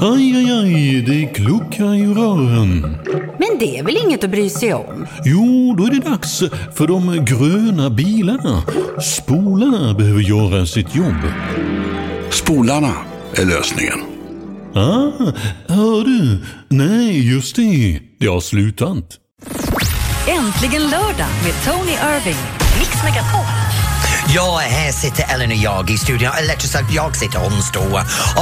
Aj, aj, aj, det kluckar i rören. Men det är väl inget att bry sig om? Jo, då är det dags för de gröna bilarna. Spolarna behöver göra sitt jobb. Spolarna är lösningen. Ah, hör du? Nej, just det. Det har slutat. Äntligen lördag med Tony Irving. Mix Megapol. Ja, här sitter Ellen och jag i studion, eller rättare sagt jag sitter hons då.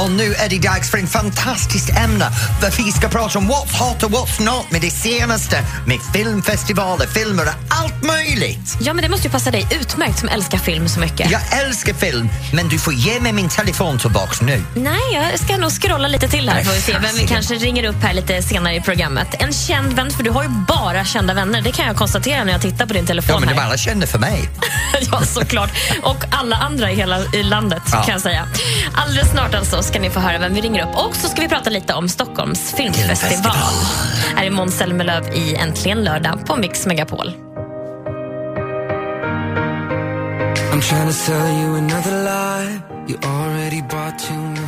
Och nu är det dags för ett fantastiskt ämne. För vi ska prata om what's hot och what's not med det senaste. Med filmfestivaler, filmer och allt möjligt. Ja, men det måste ju passa dig utmärkt som älskar film så mycket. Jag älskar film, men du får ge mig min telefon tillbaks nu. Nej, jag ska nog scrolla lite till här Nej, får vi se vem vi fasiken. kanske ringer upp här lite senare i programmet. En känd vän, för du har ju bara kända vänner. Det kan jag konstatera när jag tittar på din telefon Ja, men här. de alla känner för mig. ja, såklart. Och alla andra i hela i landet Ja. kan jag säga. Alldeles snart alltså ska ni få höra vem vi ringer upp. Och så ska vi prata lite om Stockholms filmfestival. Filmfestival. Här är Måns Zelmerlöw i Äntligen lördag på Mix Megapol. I'm trying to sell you another lie. You already bought too many.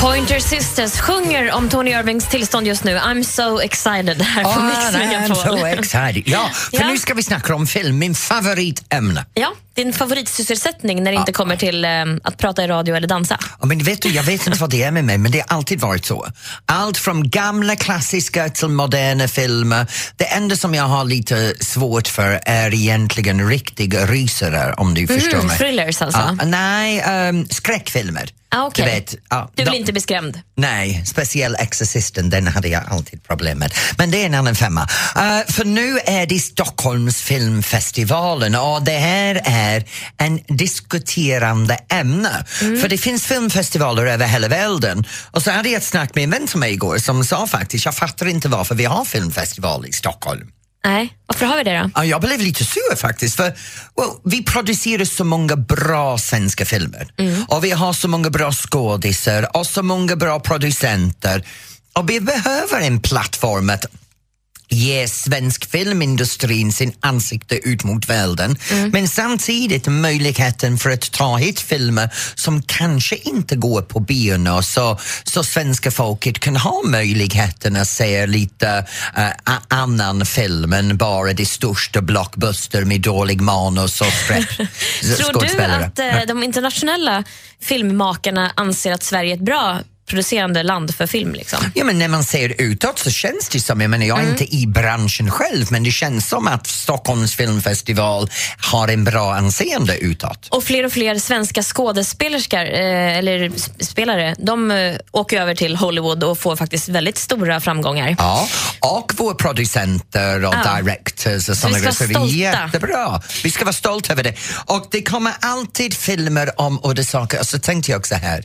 Pointer Sisters sjunger om Tony Irvings tillstånd just nu. I'm so excited här på Mix Ah, I'm Megapol. so excited. Ja, för Ja. nu ska vi snacka om film, min favoritämne. Ja, din favoritsysselsättning när det inte kommer till eh, att prata i radio eller dansa. Ja, Men vet du, jag vet inte vad det är med mig, men det har alltid varit så. Allt från gamla klassiska till moderna filmer. Det enda som jag har lite svårt för är egentligen riktiga rysare, om du förstår mig. thrillers Mm, alltså. Ja, nej, ehm, skräckfilmer. Ah, okej. Du vet. ja, Du vill de- inte bli skrämd? Nej, speciell Exorcisten, den hade jag alltid problem med. Men det är en annan femma. Eh, för nu är det Stockholms filmfestivalen och det här är en diskuterande ämne. För det finns filmfestivaler över hela världen. Och så hade jag ett snack med en vän till mig igår som sa faktiskt, jag fattar inte varför vi har filmfestival i Stockholm. Nej, varför har vi det då? Ja, jag blev lite sur faktiskt för well, vi producerar så många bra svenska filmer och vi har så många bra skådisar och så många bra producenter och vi behöver en plattform att ge svensk filmindustrin sin ansikte ut mot världen Mm. men samtidigt möjligheten för att ta hit filmer som kanske inte går på biorna så, så svenska folket kan ha möjligheten att se lite eh, a- annan film än bara de största blockbuster med dålig manus och skräp- Tror du skådespelare. att eh, de internationella filmmakarna anser att Sverige är ett bra producerande land för film? Liksom? Ja, men när man ser utåt så känns det som, jag menar jag är Mm. inte i branschen själv, men det känns som att Stockholms filmfestival har en bra anseende utåt. Och fler och fler svenska skådespelerskar, eh, eller sp- spelare, de eh, åker över till Hollywood och får faktiskt väldigt stora framgångar. Ja, och våra producenter och Ja. directors och sådana vi ska grejer. Så vi vara är stolta. jättebra. Vi ska vara stolta över det. Och det kommer alltid filmer om udda saker. Och så tänkte jag så här,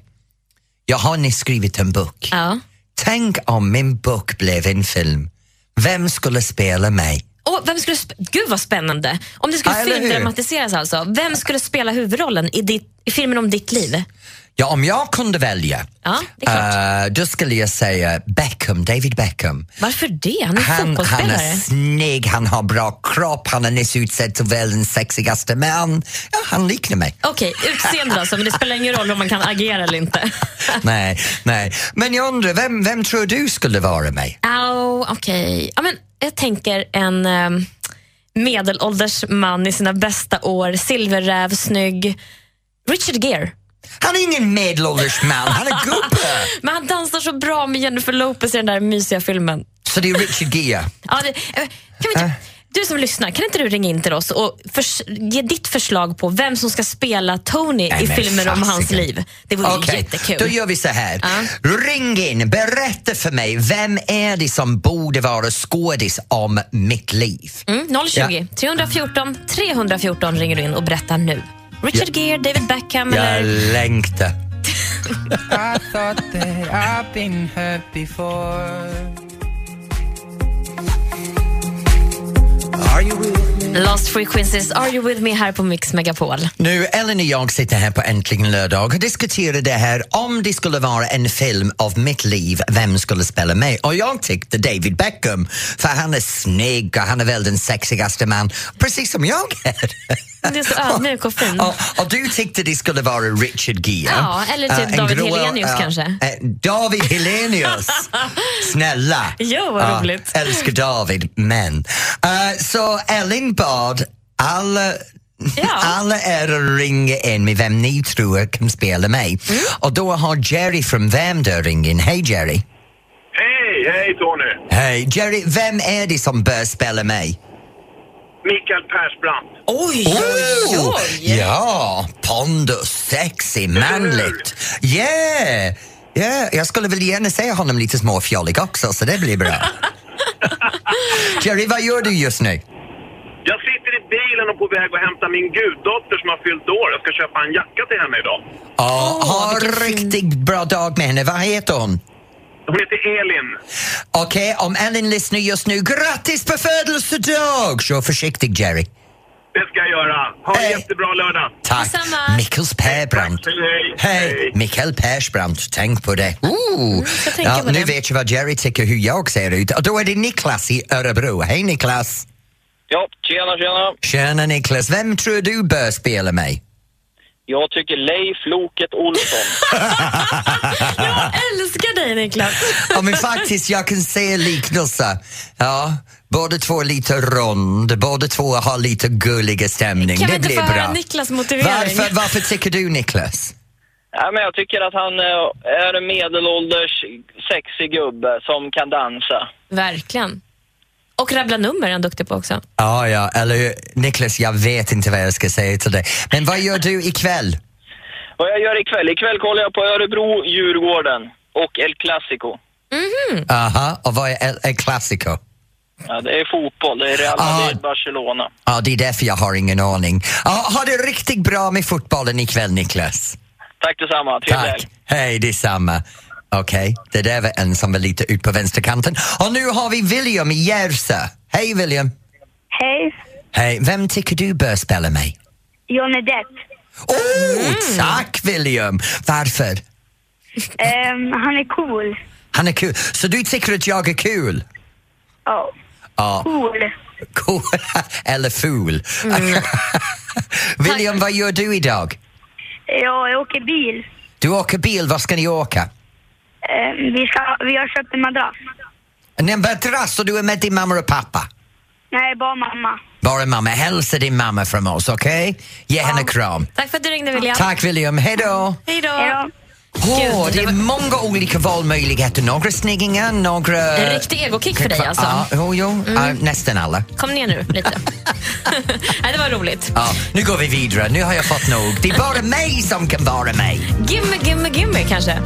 jag har nyss skrivit en bok. Ja. Tänk om min bok blev en film. Vem skulle spela mig? Och vem skulle sp- Gud vad spännande! Om det skulle Ja, eller hur? filmdramatiseras alltså, vem skulle spela huvudrollen i, ditt, i filmen om ditt liv? Ja, om jag kunde välja, Ja, det är klart. eh, då skulle jag säga Beckham, David Beckham. Varför det? Han är Han, han fotbollsspelare. är snygg, han har bra kropp, han är nyss utsedd till världens sexigaste man. Ja, han liknar mig. Okej, utseende alltså, men det spelar ingen roll om man kan agera eller inte. nej, nej. Men jag undrar, vem, vem tror du skulle vara mig? Au, okej. Ja, men jag tänker en ehm, medelålders man i sina bästa år, silverräv, snygg. Richard Gere. Han är ingen medelålders man, han är gubbe! Men han dansar så bra med Jennifer Lopez i den där mysiga filmen. Så det är Richard Gere. Ja, det, eh, kan Äh. vi inte, du som lyssnar, kan inte du ringa in till oss och förs- ge ditt förslag på vem som ska spela Tony Nej, i men filmer om hans fasiken. liv? Det vore ju Okej, jättekul. Då gör vi så här. Ja. Ring in, berätta för mig, vem är det som borde vara skådis om mitt liv? Mm, 020 314 314 ringer du in och berättar nu. Richard Gere, David Beckham Jag eller... längtar. I thought that I've been hurt before. Are you with me? Lost Frequencies, Are You With Me här på Mix Megapol. Nu, Ellen och jag sitter här på Äntligen lördag och diskuterar det här om det skulle vara en film av mitt liv, vem skulle spela mig? Och jag tyckte David Beckham, för han är snygg och han är väl den sexigaste man, precis som jag är. Det är så ödmjuk och fin. Och, och du tyckte det skulle vara Richard Gere. Ja, eller typ Eh, en David Hellenius kanske. eh, David Hellenius! Snälla! Jo, vad Ja, roligt. Älskar David, men. Eh, så Ellen bad alla Ja. alla er att ringa in med vem ni tror kan spela mig. Och då har Jerry från Värmdö ringt in. Hej Jerry! Hej, hej Tony! Hej! Jerry, vem är det som bör spela mig? Mikael Persbrandt. Oj, oj, Oh, oj. ja, pondus, sexy, manligt. Yeah! yeah! Jag skulle väl gärna säga honom lite småfjollig också, så det blir bra. Jerry, vad gör du just nu? Jag sitter i bilen och på väg att hämta min guddotter som har fyllt år. Jag ska köpa en jacka till henne idag. Ja, ha en vilken fin- riktigt bra dag med henne. Vad heter hon? Hon heter Elin. Okej, om Ellen lyssnar just nu, grattis på födelsedag! Kör försiktigt, Jerry. Det ska jag göra. Ha en Hej. jättebra lördag. Tack. Detsamma. Mikkels Persbrandt. Tack, hej. Hej! Hej. Mikael Persbrandt, tänk på det. Ooh. Mm, ska tänka Ja, på nu det. vet jag vad Jerry tycker hur jag ser ut. Och då är det Niklas i Örebro. Hej Niklas! Ja, tjena, tjena. Tjena Niklas, vem tror du bör spela mig? Jag tycker Leif Loket Olsson. Jag älskar dig Niklas. Ja men faktiskt, jag kan se liknelser. Ja, båda två är lite rund, båda två har lite gulliga stämning. Kan vi det inte blir få höra bra. Niklas motivering? Varför, varför tycker du Niklas? Nej, men jag tycker att han eh, är en medelålders sexig gubbe som kan dansa. Verkligen. Och rabbla nummer är han duktig på också. Ja, ja, eller hur? Niklas, jag vet inte vad jag ska säga till dig. Men vad gör du ikväll? Vad jag gör ikväll? Ikväll kollar jag på Örebro, Djurgården och El Clasico. Aha, och vad är El, El Clasico? Ja, det är fotboll, det är Real Ah. Madrid, Barcelona. Ja, det är därför jag har ingen aning. Ja, ha det riktigt bra med fotbollen ikväll, Niklas. Tack detsamma, trevlig Tack. helg. Hej, detsamma. Okej, det där var en som var lite ut på vänsterkanten. Och nu har vi William i Järvsö. Hej, William. Hej, Hej, vem tycker du bör spela mig? Johnny Depp. Mm. Åh, oh, tack William! Varför? Ehm, han är cool. Han är kul. Så du tycker att jag är kul? Ja, Ja. cool. Mm. Cool. Eller ful. William, vad gör du idag? Ja, jag åker bil. Du åker bil, vad ska ni åka? Ehm, vi, ska, vi har köpt en madrass. En madrass och du är med din mamma och pappa? Nej, bara mamma. Bara mamma. Hälsa din mamma från oss, okej? Ge henne kram. Tack för att du ringde William. Tack William, hej då! Hej Hej då. då. Åh, det är många olika valmöjligheter. Några snyggingar, några... En riktig egokick för dig alltså. Ja, jo, jo. Ja, nästan alla. Kom ner nu lite. Nej, det var roligt. Ja, nu går vi vidare, nu har jag fått nog. Det är bara mig som kan vara mig. Gimme, gimme, gimme kanske.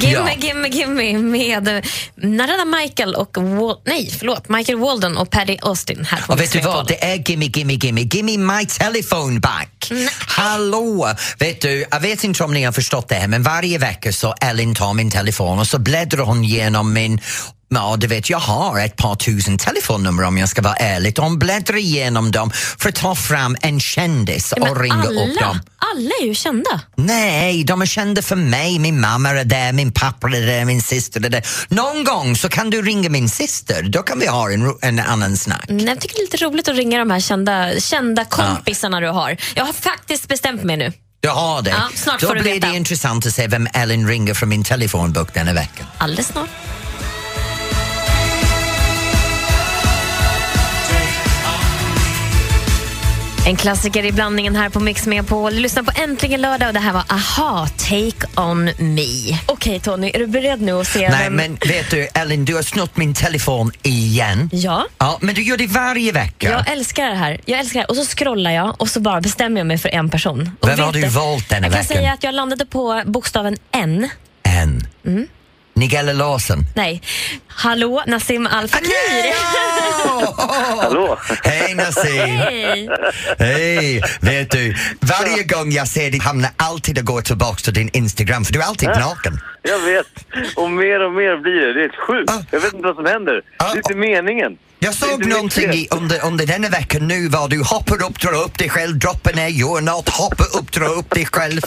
Gimme, Ja. gimme, gimme med eh, Narada Michael och Wal- nej, förlåt, Michael Walden och Paddy Austin här på Och vet Mix du vad, Megapol. det är gimme, gimme, gimme, gimme my telephone back. Hallå! Vet du, jag vet inte om ni har förstått det här men varje vecka så Ellen tar min telefon och så bläddrar hon igenom min Ja, du vet, jag har ett par tusen telefonnummer om jag ska vara ärlig. Hon bläddrar igenom dem för att ta fram en kändis Men och ringa alla, upp dem. alla är ju kända. Nej, de är kända för mig. Min mamma är där, min pappa är där, min syster är där. Någon gång så kan du ringa min syster, då kan vi ha en, ro- en annan snack. Nej, Jag tycker det är lite roligt att ringa de här kända, kända kompisarna du har. Jag har faktiskt bestämt mig nu. Du har det. Ja, snart Då får du blir veta. det intressant att se vem Ellen ringer från min telefonbok denna veckan. Alldeles snart. En klassiker i blandningen här på Mix Megapol. Du lyssnar på Äntligen lördag och det här var Aha, Take On Me. Okej Tony, är du beredd nu att se Nej, vem- men vet du Ellen, du har snott min telefon igen. Ja. Ja, men du gör det varje vecka. Jag älskar det här. Jag älskar det här. Och så scrollar jag och så bara bestämmer jag mig för en person. Och Vem har vet du valt denna Jag kan veckan? säga att jag landade på bokstaven N. En. Nigella Larsson. Nej. Hallå, Nassim Al Fakir! Hallå! Hej Nassim! Hej! Hej! Vet du, varje gång jag ser dig hamnar alltid att gå tillbaka till din Instagram för du är alltid naken. Jag vet. Och mer och mer blir det. Det är sjukt. Jag vet inte vad som händer. Ah. Det är inte meningen. Jag såg någonting i, under, under denna veckan nu var du hoppar upp, drar upp dig själv, droppar ner, gör något, hoppar upp, drar upp dig själv.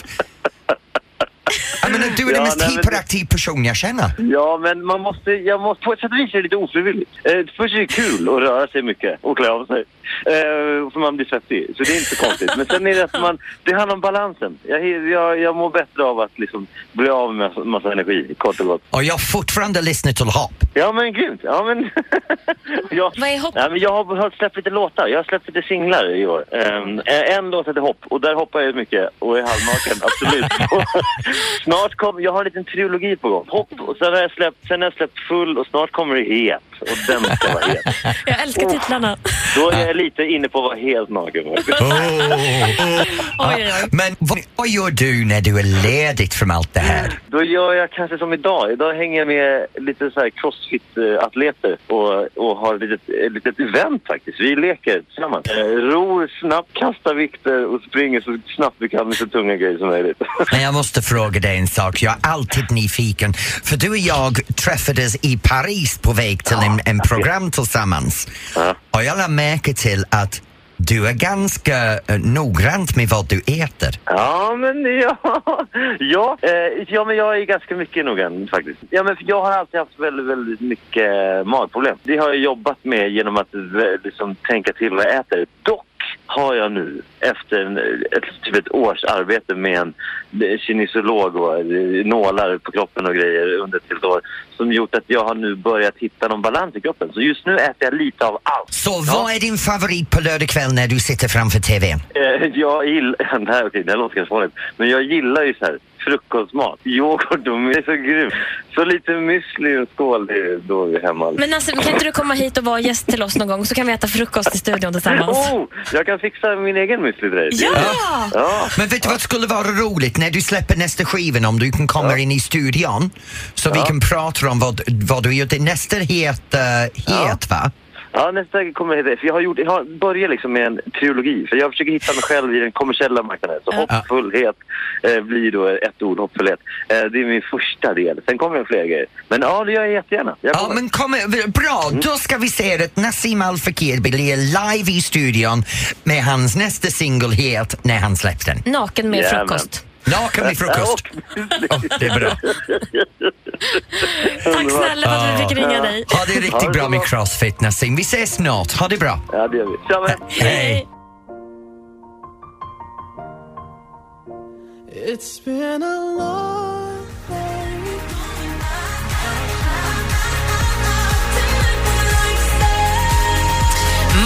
Jag menar, du är Ja, den mest nej, men- hyperaktiva person jag känner. Ja, men man måste, jag måste, på ett sätt och vis är det lite ofrivilligt. Eh, först är det kul att röra sig mycket och klä av sig. Eh, för man blir svettig, så det är inte så konstigt. Men sen är det att man, det handlar om balansen. Jag, jag, jag mår bättre av att liksom bli av med massa, massa energi, kort och gott. Och jag fortfarande lyssnar till hopp. Ja men grymt! Ja, men... jag, Vad är hopp? Nej, men jag har hört- släppt lite låtar, jag har släppt lite singlar i år. Ehm, en låt heter Hopp och där hoppar jag mycket och är halvnaken, absolut. Och snart kommer, jag har en liten trilogi på gång. Hopp och sen har jag släppt, sen har jag släppt Full och snart kommer det Het. Och den ska vara het. Jag älskar titlarna. Då är jag lite inne på att vara helt naken. Oj, oj, oj. Men vad, vad gör du när du är ledigt från allt det här? Då gör jag kanske som idag. Idag hänger jag med lite så här crossfit-atleter och, och har ett litet, ett litet event faktiskt. Vi leker tillsammans. Eh, Ror snabbt, kastar vikter och springer så snabbt vi kan med så tunga grejer som möjligt. Men jag måste fråga dig en sak, jag är alltid nyfiken. För du och jag träffades i Paris på väg till en, en program tillsammans. Och jag lade märke till att du är ganska eh, noggrant med vad du äter. Ja, men ja. Ja, eh, ja men jag är ganska mycket noggrann faktiskt. Ja, men för jag har alltid haft väldigt, väldigt mycket eh, magproblem. Det har jag jobbat med genom att eh, liksom, tänka till vad jag äter. Dock har jag nu, efter en, ett, typ ett års arbete med en eh, kinesiolog och eh, nålar på kroppen och grejer under ett helt år, som gjort att jag har nu börjat hitta någon balans i kroppen. Så just nu äter jag lite av allt. Så vad är din favorit på lördag kväll när du sitter framför TVn? Eh, Jag gillar... Det här, okej, det här låter kanske farligt. Men jag gillar ju så här frukostmat. Yoghurt och det är så grymt. Så lite müsli i en skål, det är då vi är hemma. Men alltså, Nassim, kan inte du komma hit och vara gäst till oss någon gång så kan vi äta frukost i studion tillsammans? Oh, jag kan fixa min egen müsli till dig. Det är- Ja! Ja! Men vet du vad skulle vara roligt när du släpper nästa skivan om du kan komma in i studion så vi kan prata om vad, vad du gör. Det Nästa heter Het va? Ja, nästa kommer heta... För jag har, gjort, jag har börjat liksom med en trilogi. För jag försöker hitta mig själv i den kommersiella marknaden. Så hoppfullhet eh, blir då ett ord, hoppfullhet. Eh, det är min första del. Sen kommer det fler grejer. Men ja, det gör jag jättegärna. Jag Ja, kommer. Mm. men kom, bra, då ska vi se att Nassim Al Fakir blir live i studion med hans nästa singel Het när han släpps den. Naken med Jajamän. frukost. Naken vid frukost. Och- Det är bra. Tack snälla för att vi fick ringa dig. Ha det Ha det riktigt så bra med bra. Crossfit Nassim. Vi ses snart. Ha det bra. Ja, det gör vi. Tja, men. Hej.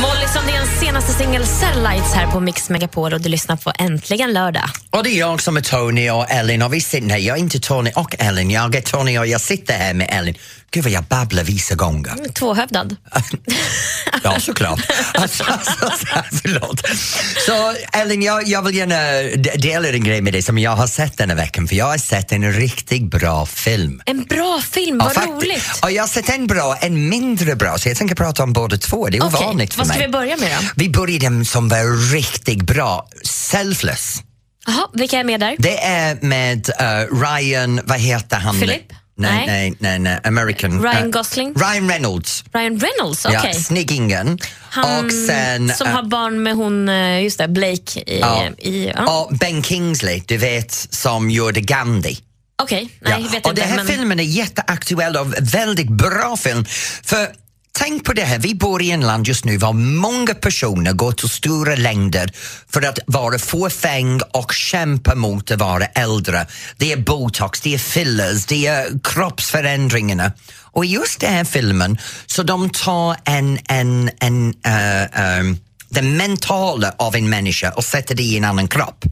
Molly Sandéns senaste singel Satellites här på Mix Megapol och du lyssnar på Äntligen lördag. Och det är jag som är Tony och Ellen och vi sitter här. Jag är inte Tony och Ellen, jag är Tony och jag sitter här med Ellen. Gud vad jag babblar vissa gånger. Tvåhövdad. Ja, såklart. Alltså, alltså, så här, förlåt. Så Ellen, jag, jag vill gärna de- dela en grej med dig som jag har sett den här veckan för jag har sett en riktigt bra film. En bra film, Ja, Eh, vad faktiskt. roligt. Ja, jag har sett en bra, en mindre bra, så jag tänker prata om båda två. Det är Okej, ovanligt för vad ska mig. vi börja med då? Vi börjar den som var riktigt bra, Selfless. Jaha, vilka är med där? Det är med eh, Ryan, vad heter han? Philip? Nej, Nej. nej, nej, nej American. Ryan Eh, Gosling? Ryan Reynolds. Ryan Reynolds, okej. Ja, snyggingen. Han och sen... som eh, har barn med hon, eh, just det, Blake i... Ja. i ja. och Ben Kingsley, du vet, som gjorde Gandhi. Okej, nej Ja. vet och den inte. här Men... filmen är jätteaktuell och väldigt bra film. För Tänk på det här, vi bor i en land just nu var många personer går till stora längder för att vara fåfäng och kämpa mot att vara äldre. Det är botox, det är fillers, det är kroppsförändringarna. Och i just den här filmen så de tar en, en, en, eh, eh, det mentala av en människa och sätter det i en annan kropp.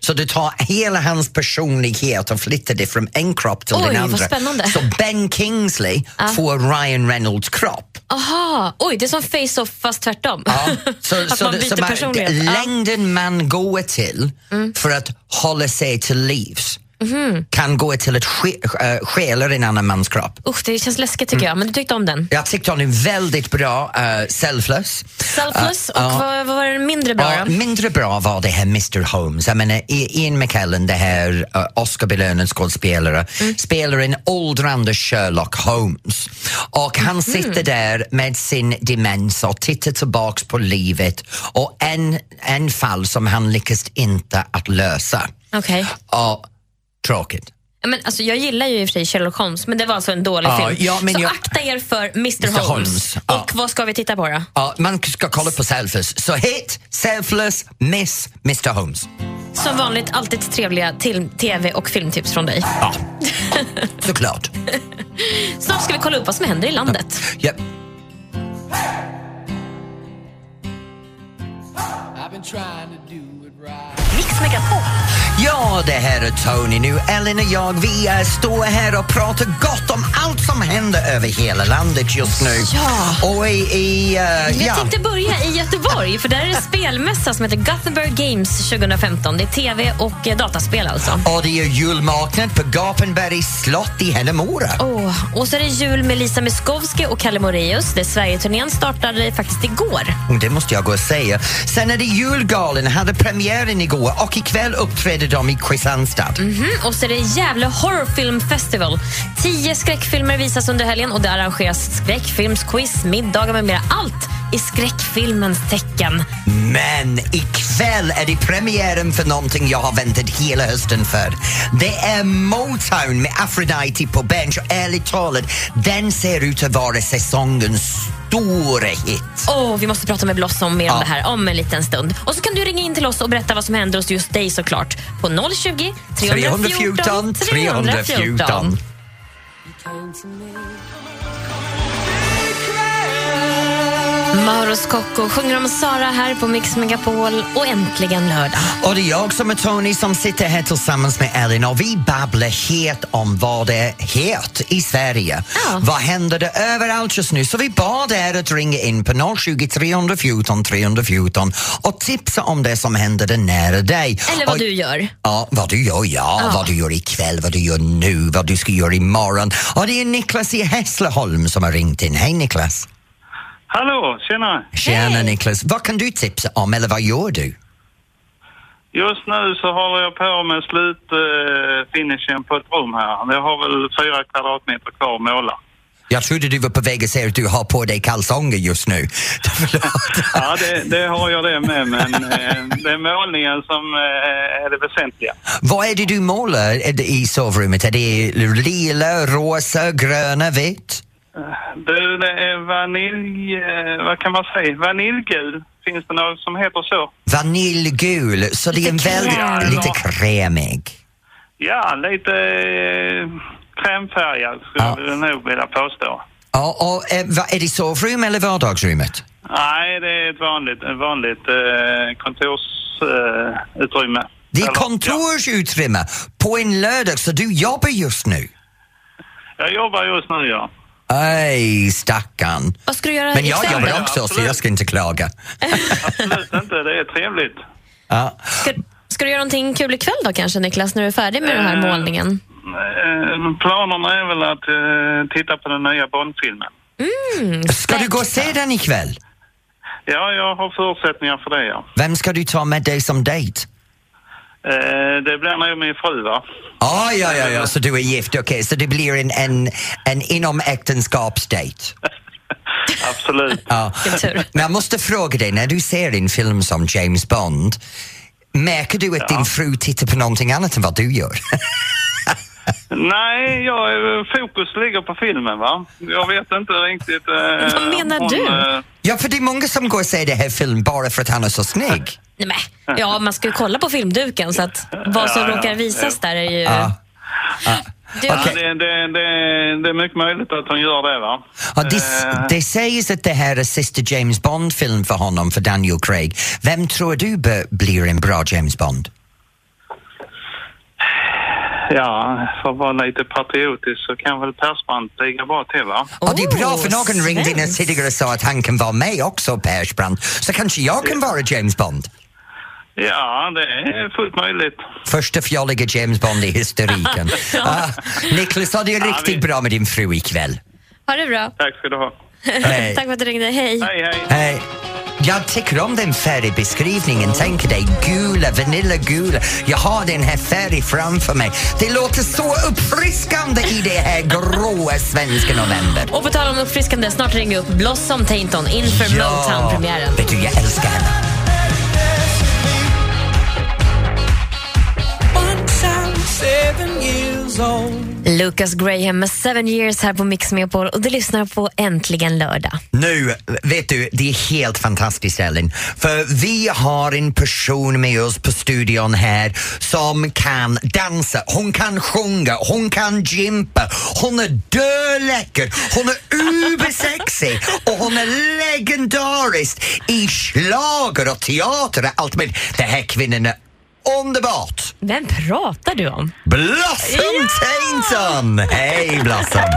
Så du tar hela hans personlighet och flyttar det från en kropp till Oj, den vad andra. spännande. Så Ben Kingsley får Ryan Reynolds kropp. Aha, oj det är som Face-Off fast tvärtom. Så, att så, man det- byter så man, personlighet. Mm. det- Ja. längden man går till för att hålla sig till livs Mhm. kan gå till att ske- eh, stjäla en annan mans kropp. Usch, det känns läskigt tycker jag, Mm. men du tyckte om den. Jag tyckte hon är väldigt bra, eh, selfless. Selfless, Eh, och ja. vad, vad var den mindre bra Ja, då? mindre bra var det här Mr Holmes. Jag menar, I- Ian McKellen, det här uh, Oscarbelönad skådespelare, spelar en åldrande Sherlock Holmes. Och han sitter där med sin demens och tittar tillbaks på livet och en, en fall som han lyckas inte att lösa. Okej. Och, tråkigt. Men, alltså, jag gillar ju i och för sig Sherlock Holmes, men det var alltså en dålig Ja, film. ja, men så jag- akta er för Mr, Mr. Holmes. Holmes, Och ja. vad ska vi titta på då? Ja, man ska kolla på Selfless. Så hit, Selfless, Miss Mr Holmes. Som vanligt alltid trevliga till tv och filmtips från dig. Ja, såklart. Snart ska vi kolla upp vad som händer i landet. Japp. Mix Megapol. Ja, det här är Tony nu. Ellen och jag, vi eh, står här och pratar gott om allt som händer över hela landet just nu. Ja. Och i... i eh, Jag ja. tänkte börja i Göteborg, för där är det spelmässa som heter Gothenburg Games 2015. Det är tv och eh, dataspel alltså. Och det är julmarknad på Gapenbergs slott i Hedemora. Åh, och så är det jul med Lisa Miskovsky och Kalle Moraeus. där Sverigeturnén startade faktiskt igår. Och Mm, Det måste jag gå och säga. Sen är det julgalen, hade premiären igår och ikväll uppträder de i Kristianstad. Mhm, Och så är det Gävle Horror Film Festival. Tio skräckfilmer visas under helgen och det arrangeras skräckfilmsquiz, middagar med mera. Allt i skräckfilmens tecken. Men ikväll är det premiären för någonting jag har väntat hela hösten för. Det är Motown med Aphrodite på bench och ärligt talat, den ser ut att vara säsongens stora hit. Åh, vi måste prata med Blossom mer Ja. om det här om en liten stund. Och så kan du ringa in till oss och berätta vad som händer hos just dig såklart. På 020 314 314. Maros Kocko sjunger om Sara här på Mix Megapol och äntligen lördag. Och det är jag som är Tony som sitter här tillsammans med Elin och vi babblar het om vad det är het i Sverige. Ja. Vad händer det överallt just nu? Så vi bad er att ringa in på 020 314 314 och tipsa om det som händer där nära dig. Eller vad och, du gör. Ja, vad du gör, ja, Ja. Vad du gör ikväll, vad du gör nu, vad du ska göra imorgon. Och det är Niklas i Hässleholm som har ringt in. Hej Niklas! Hallå, tjena! Tjena Niklas! Vad kan du tipsa om eller vad gör du? Just nu så håller jag på med slutfinishen på ett rum här. Jag har väl fyra kvadratmeter kvar att måla. Jag trodde du var på väg att säga att du har på dig kalsonger just nu. Ja, det, det har jag det med, men eh, det är målningen som eh, är det väsentliga. Vad är det du målar är det i sovrummet? Är det lila, rosa, gröna, vitt? Du, det är vanilj... eh, Vad kan man säga? Vaniljgul. Finns det något som heter så? Vaniljgul, så det är en väldigt, krämig. lite krämig. Ja, lite eh, krämfärgad skulle jag nog vilja påstå. Ja, och, eh, va- är det sovrum eller vardagsrummet? Nej, det är ett vanligt, ett vanligt eh, kontorsutrymme. Eh, utrymme. Det är kontorsutrymme på en lördag, så du jobbar just nu. jag jobbar just nu, ja. Aj, stackarn. Vad ska du göra Men jag ikväll? jobbar också, så jag ska inte klaga. Absolut inte, det är trevligt. Ja. Ska, ska du göra någonting kul ikväll då kanske Niklas, när du är färdig med den här Eh, målningen? Eh, planerna är väl att eh, titta på den nya Bond-filmen. Ska du gå och se den ikväll? Ja, jag har förutsättningar för det, ja. Vem ska du ta med dig som dejt? Eh, det blir nog min fru, va? Ah, ja, ja, ja, så du är gift, okej, så det blir en, en, en inomäktenskapsdejt. Absolut. Ja. Vilken tur. Men jag måste fråga dig, när du ser en film som James Bond, märker du att din fru tittar på någonting annat än vad du gör? Nej, jag, är- fokus ligger på filmen, va? Jag vet inte riktigt... Eh, Vad menar om, du? eh, ja, för det är många som går och ser det här filmen bara för att han är så snygg. Nej, men, ja, man ska ju kolla på filmduken så att vad som Ja, ja. råkar visas där är ju... Ja. Du, ja, det, det, det, det är mycket möjligt att hon gör det, va? Ja, det, det sägs att det här är sista James Bond-film för honom, för Daniel Craig. Vem tror du b- blir en bra James Bond? Ja, för att vara lite patriotisk så kan väl Persbrandt ligga bra till, va? Och det är bra för någon Oh, ringde in svensk. tidigare och sa att han kan vara med också, Persbrandt. Så kanske jag kan vara James Bond. Ja, det är fullt möjligt. Första fjolliga James Bond i historiken. ah, Niklas, ha det Ja, riktigt vi- bra med din fru ikväll. Ha det bra. Tack ska du ha. Hej. Tack för att du ringde. Hej. Hej, hej. Hej. Jag tycker om den färgbeskrivningen. Tänk dig gula, vanillagula. Jag har den här färgen framför mig. Det låter så uppfriskande i det här gråa svenska november. Och på tal om uppfriskande, snart ringer upp Blossom Tainton inför Motown-premiären. Vet du, jag älskar henne. Once I'm seven years old. Lucas Graham med Seven Years här på Mix Megapol och du lyssnar på Äntligen lördag. Nu, vet du, det är helt fantastiskt Ellen. För vi har en person med oss på studion här som kan dansa, hon kan sjunga, hon kan gympa, hon är döläcker, hon är ubersexig och hon är legendarisk i schlager och teater och allt möjligt. Den här kvinnan är underbart! Vem pratar du om? Blossom Tainton! Hej Blossom!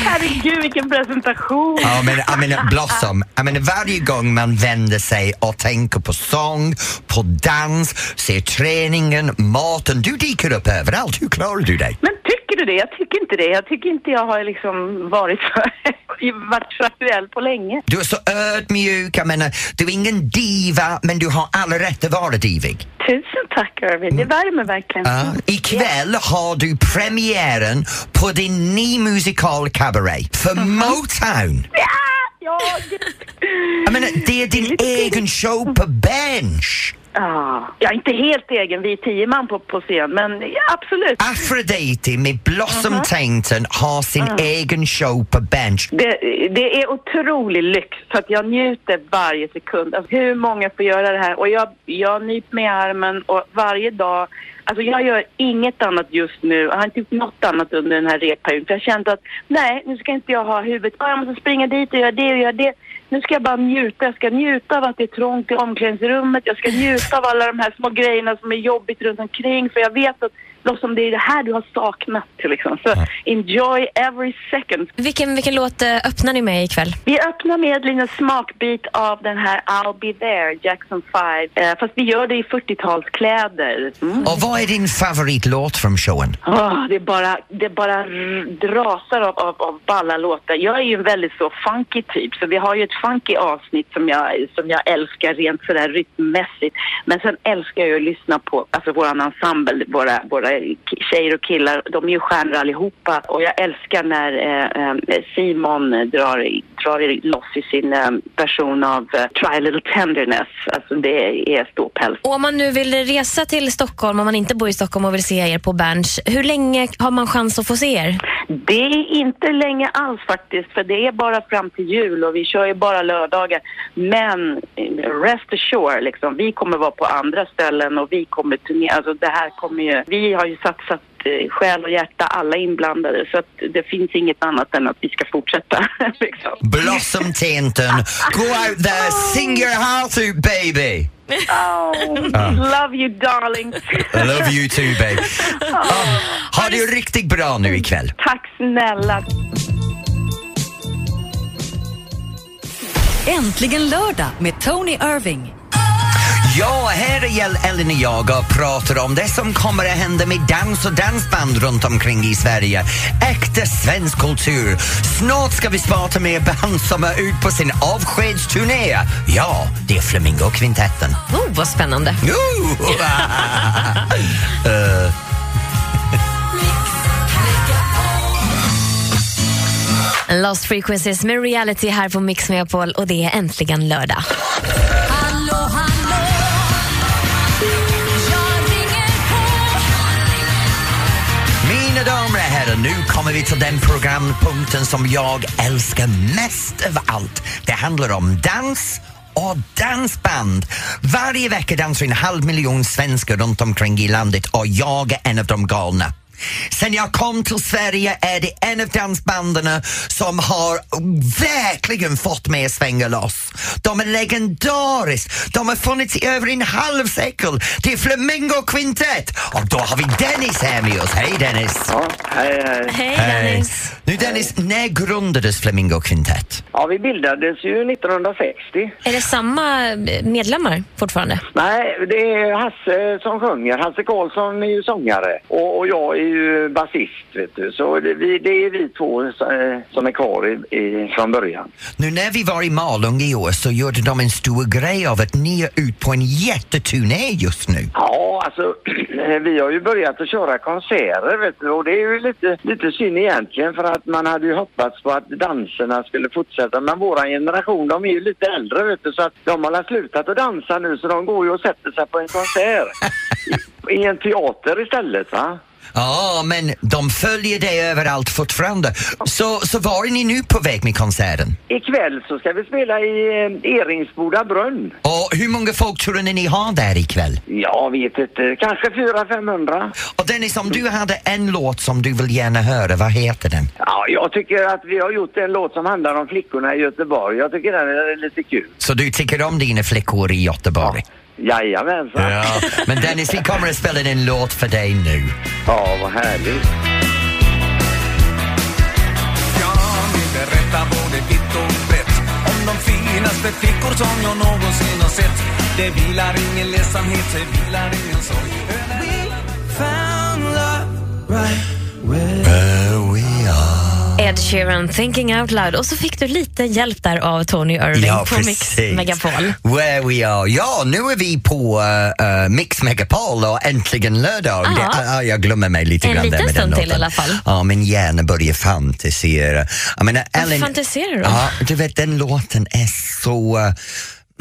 Herregud, vilken presentation! Ja, men jag menar Blossom, jag menar varje gång man vänder sig och tänker på sång, på dans, ser träningen, maten, du dyker upp överallt. Hur klarar du dig? Men tycker du det? Jag tycker inte det. Jag tycker inte jag har liksom varit så, varit så aktuell på länge. Du är så ödmjuk, jag menar, du är ingen diva, men du har all rätt att vara divig. Tusen tack, Irvin. Det värmer verkligen. Ja. Ikväll har du premiären på din ny musikal Cabaret för Motown. Ja, Jag menar, det är din egen show på bench. Ja, Ah, jag är inte helt egen. Vi är tio man på, på scen, men absolut. Afrodite med Blossom Tainton har sin egen show på bench. Det, det är otrolig lyx, så att jag njuter varje sekund. Alltså, hur många får göra det här? Och jag, jag nyper mig i armen och varje dag... Alltså jag gör inget annat just nu. Jag har inte gjort något annat under den här repperioden. För jag kände att nej, nu ska inte jag ha huvudet. Ah, jag måste springa dit och göra det och göra det. Nu ska jag bara njuta. Jag ska njuta av att det är trångt i omklädningsrummet. Jag ska njuta av alla de här små grejerna som är jobbigt runt omkring. För jag vet att Blossom, det är det här du har saknat. Liksom. Så enjoy every second. Vilken, vilken låt eh, öppnar ni med ikväll? Vi öppnar med en liten smakbit av den här I'll be there, Jackson 5. Eh, fast vi gör det i 40-talskläder. Mm. Och vad är din favoritlåt från showen? Åh, det bara, det bara r- rasar av, av, av balla låtar. Jag är ju en väldigt så funky typ, så vi har ju ett funky avsnitt som jag, som jag älskar rent sådär rytmmässigt. Men sen älskar jag ju att lyssna på alltså våran ensemble, våra, våra ki- tjejer och killar. De är ju stjärnor allihopa och jag älskar när eh, eh, Simon drar, i- drar i loss i sin eh, version av eh, Try a little tenderness. Alltså det är ståpäls. Och om man nu vill resa till Stockholm, om man inte bor i Stockholm och vill se er på Berns, hur länge har man chans att få se er? Det är inte länge alls faktiskt, för det är bara fram till jul och vi kör ju bara lördagar. Men eh, rest assured, liksom, vi kommer vara på andra ställen och vi kommer turnera. Alltså det här kommer ju, vi har ju satsat eh, själ och hjärta, alla inblandade, så att det finns inget annat än att vi ska fortsätta. liksom. Blossom Tainton, go out there, sing your heart out baby! Oh, Ah. love you darling! I love you too Oh, baby. Ah, Ha det riktigt bra nu ikväll. tack snälla! Äntligen lördag med Tony Irving. Ja, här är Jell- Ellen och jag och pratar om det som kommer att hända med dans och dansband runt omkring i Sverige. Äkta svensk kultur. Snart ska vi prata med band som är ute på sin avskedsturné. Ja, det är Flamingokvintetten. Oh, vad spännande. Jo! Eh, Lost Frequencies med Reality här på Mix Megapol och det är äntligen lördag. Mina damer och herrar, nu kommer vi till den programpunkten som jag älskar mest av allt. Det handlar om dans och dansband. Varje vecka dansar en halv miljon svenskar runt omkring i landet och jag är en av de galna. Sen jag kom till Sverige är det en av dansbanden som har verkligen fått mig att svänga loss. De är legendariskt. De har funnits i över en halv sekel. Det är Flamingo Quintet. Och då har vi Dennis här med oss. Hej Dennis! Hej, hej. Nu Dennis, när grundades Flamingo Quintet? Ja, vi bildades ju 1960. Är det samma eh, medlemmar fortfarande? Nej, det är Hasse som sjunger. Hasse Karlsson är ju sångare och, och jag är ju basist, vet du. Så det, vi, det är vi två eh, som är kvar i, i, från början. Nu när vi var i Malung i år så gjorde de en stor grej av att ni är ut på en jätteturné just nu. Ja, alltså vi har ju börjat att köra konserter, vet du. Och det är ju lite, lite synd egentligen för att man hade ju hoppats på att danserna skulle fortsätta. Men våra generation, de är ju lite äldre, vet du. Så att de har väl slutat att dansa nu så de går ju och sätter sig på en konsert. I, I en teater istället, va? Ja, men de följer dig överallt fortfarande. Så, så var är ni nu på väg med konserten? Ikväll så ska vi spela i eh, Eringsboda brunn. Och hur många folk tror ni ni har där ikväll? Jag vet inte, kanske 400-500. Och Dennis, om du hade en låt som du vill gärna höra, vad heter den? Ja, jag tycker att vi har gjort en låt som handlar om flickorna i Göteborg. Jag tycker den är lite kul. Så du tycker om dina flickor i Göteborg? Jajamensan. Ja. Men Dennis, vi kommer att spela en låt för dig nu. Ja, vad härligt. Jag vill berätta både vitt och brett om de finaste flickor som jag någonsin har sett. Det vilar ingen ledsamhet, det vilar ingen sorg. Ed Sheeran, Thinking Out Loud. Och så fick du lite hjälp där av Tony Irving Ja, på Mix precis. Megapol. Where we are. Ja, nu är vi på eh, eh, Mix Megapol och äntligen lördag. Ja. Det, ah, jag glömmer mig lite En grann där liten med den stund till låten. i alla fall. Ja, min hjärna börjar fantisera. Jag menar, Ellen, fantiserar du om? Ja, du vet den låten är så eh,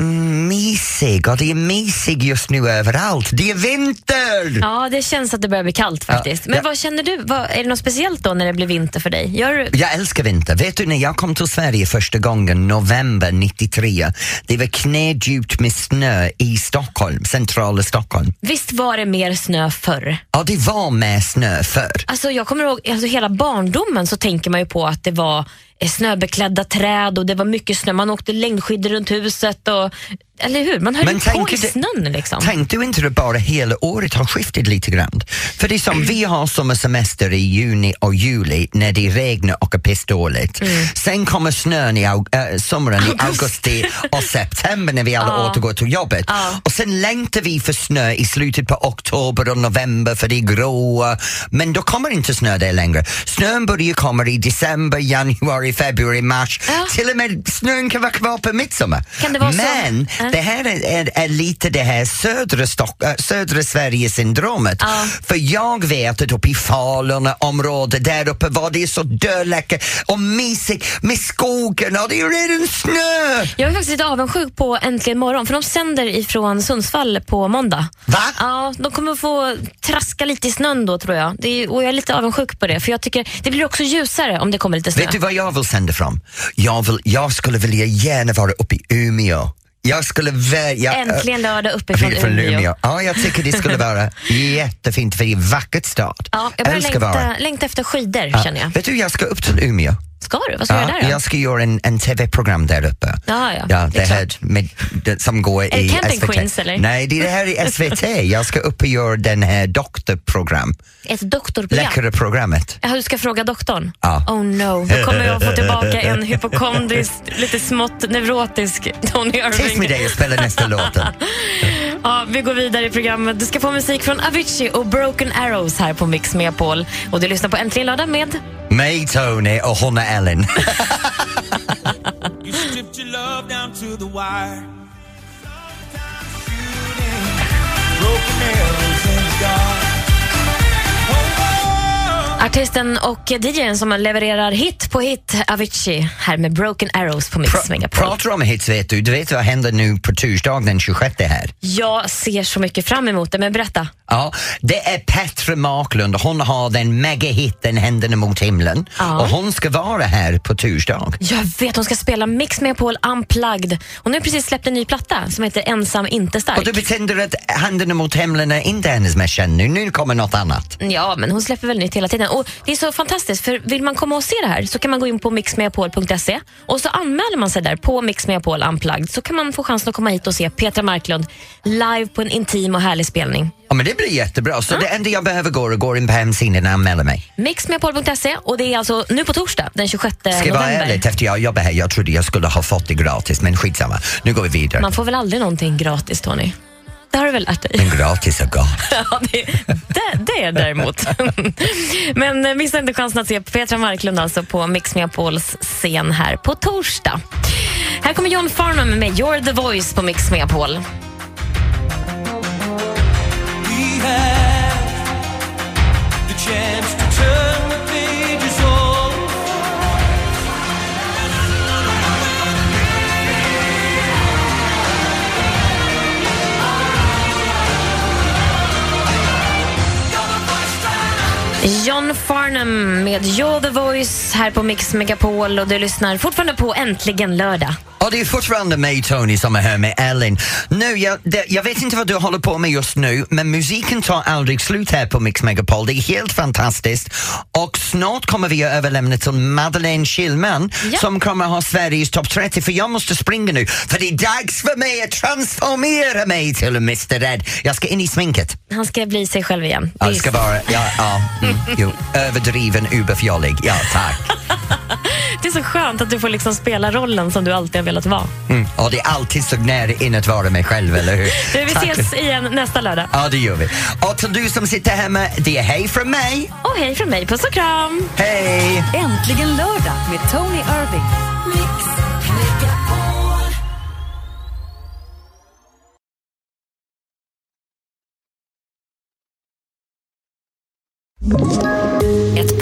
mm, mysig och det är mysig just nu överallt. Det är vinter! Ja, det känns att det börjar bli kallt faktiskt. Men vad känner du? Vad, är det något speciellt då när det blir vinter för dig? Gör du... Jag älskar vinter. Vet du när jag kom till Sverige första gången, november 93, det var knädjupt med snö i Stockholm, centrala Stockholm. Visst var det mer snö förr? Ja, det var med snö förr. Alltså jag kommer ihåg, alltså hela barndomen så tänker man ju på att det var eh, snöbeklädda träd och det var mycket snö. Man åkte längdskidor runt huset och, eller hur? Man höll ju på i du- snön liksom. Tänkte du inte att bara hela året har skiftat lite grann? För det är som vi har sommarsemester i juni och juli när det regnar och är pissdåligt. Mm. Sen kommer snön i au- äh, sommaren i augusti och september när vi alla Ja. återgår till jobbet. Och sen längtar vi för snö i slutet på oktober och november för det är gråa. Men då kommer inte snö där längre. Snön börjar komma i december, januari, februari, mars. Till och med snön kan vara kvar på midsommar. Kan det vara så? Men Ja. det här är, är, är lite det här södra, Stock, äh, södra Sverige-syndromet. För jag vet att uppe i Falun området där uppe var det så dödläckert och mysigt med skogen och det är redan snö! Jag är faktiskt lite avundsjuk på Äntligen morgon för de sänder ifrån Sundsvall på måndag. Va? Ja, de kommer få traska lite i snön då tror jag. Det är, och jag är lite avundsjuk på det för jag tycker det blir också ljusare om det kommer lite snö. Vet du vad jag vill sända fram? Jag, vill, jag skulle vilja gärna vara uppe i Umeå. Jag skulle välja... Äntligen lördag uppifrån från Umeå. Ja, jag tycker det skulle vara jättefint för det är en vacker stad. Ja, jag börjar Älskar vara. längta, längta efter skidor Ja. känner jag. Vet du, jag ska upp till Umeå. Ska du? Vad ska du Ja, göra där då? Jag ska göra en, en tv-program där uppe. Ja, ja, ja det det är här med, det, som går Är det i Camping SVT. Queens, eller? Nej, det är det här i SVT. jag ska upp och göra den här doktorprogram. Ett doktorprogram? Läckare programmet. Ja, du ska fråga doktorn? Ja. Oh no, då kommer jag få tillbaka en hypokondrisk, lite smått neurotisk Tony Tyst med Irving. dig och spela nästa låt. Ja, vi går vidare i programmet. Du ska få musik från Avicii och Broken Arrows här på Mix Megapol. Och du lyssnar på Äntligen lördag med... Mig, Tony och hon är Ellen. You stripped your love down to the wire. Artisten och DJn som levererar hit på hit, Avicii, här med Broken Arrows på Mix Megapol. Pratar om hits vet du, du vet vad händer nu på torsdag den 26 här? Jag ser så mycket fram emot det, men berätta. Ja, det är Petra Marklund. Hon har den megahitten Händerna mot himlen. Ja. Och hon ska vara här på torsdag. Jag vet, hon ska spela Mix Megapol Unplugged. Hon har ju precis släppt en ny platta som heter Ensam inte stark. Och du betyder att Händerna mot himlen är inte hennes mest kända nu. Nu kommer något annat. Ja, men hon släpper väl nytt hela tiden. Och Det är så fantastiskt, för vill man komma och se det här så kan man gå in på mixmeapol.se och så anmäler man sig där på Mix Megapol Unplugged så kan man få chansen att komma hit och se Petra Marklund live på en intim och härlig spelning. Ja, men det blir jättebra. Så det enda jag behöver gå och gå in på hemsidan och anmäla mig. Mixmegapol.se och det är alltså nu på torsdag den 26 Ska jag vara november. ärlig, efter jag jobbade här, jag trodde jag skulle ha fått det gratis, men skitsamma. Nu går vi vidare. Man får väl aldrig någonting gratis, Tony? Det har du väl lärt dig? Men gratis och gott. Ja, det, det, det är däremot. Men eh, missa inte chansen att se Petra Marklund alltså på Mix Megapols scen här på torsdag. Här kommer John Farnham med You're the voice på Mix Megapol. We have the chance to turn the pages on. John Farnham med You're the voice här på Mix Megapol och du lyssnar fortfarande på Äntligen lördag. Och det är fortfarande mig, Tony, som är här med Ellen. Nu, jag, det, jag vet inte vad du håller på med just nu, men musiken tar aldrig slut här på Mix Megapol. Det är helt fantastiskt. Och snart kommer vi att överlämna till Madeleine Schillman som kommer att ha Sveriges topp 30, för jag måste springa nu. För det är dags för mig att transformera mig till Mr Red. Jag ska in i sminket. Han ska bli sig själv igen. Ja, det ska vara, ja, ja, mm, jo, överdriven, uberfjollig. Ja, tack. Det är så skönt att du får liksom spela rollen som du alltid har velat vara. Mm. Och det är alltid så nära in att vara mig själv, eller hur? Du, vi Tack. ses igen nästa lördag. Ja, det gör vi. Och till du som sitter hemma, det är hej från mig. Och hej från mig. Puss och kram! Hej! Äntligen lördag med Tony Irving. Ett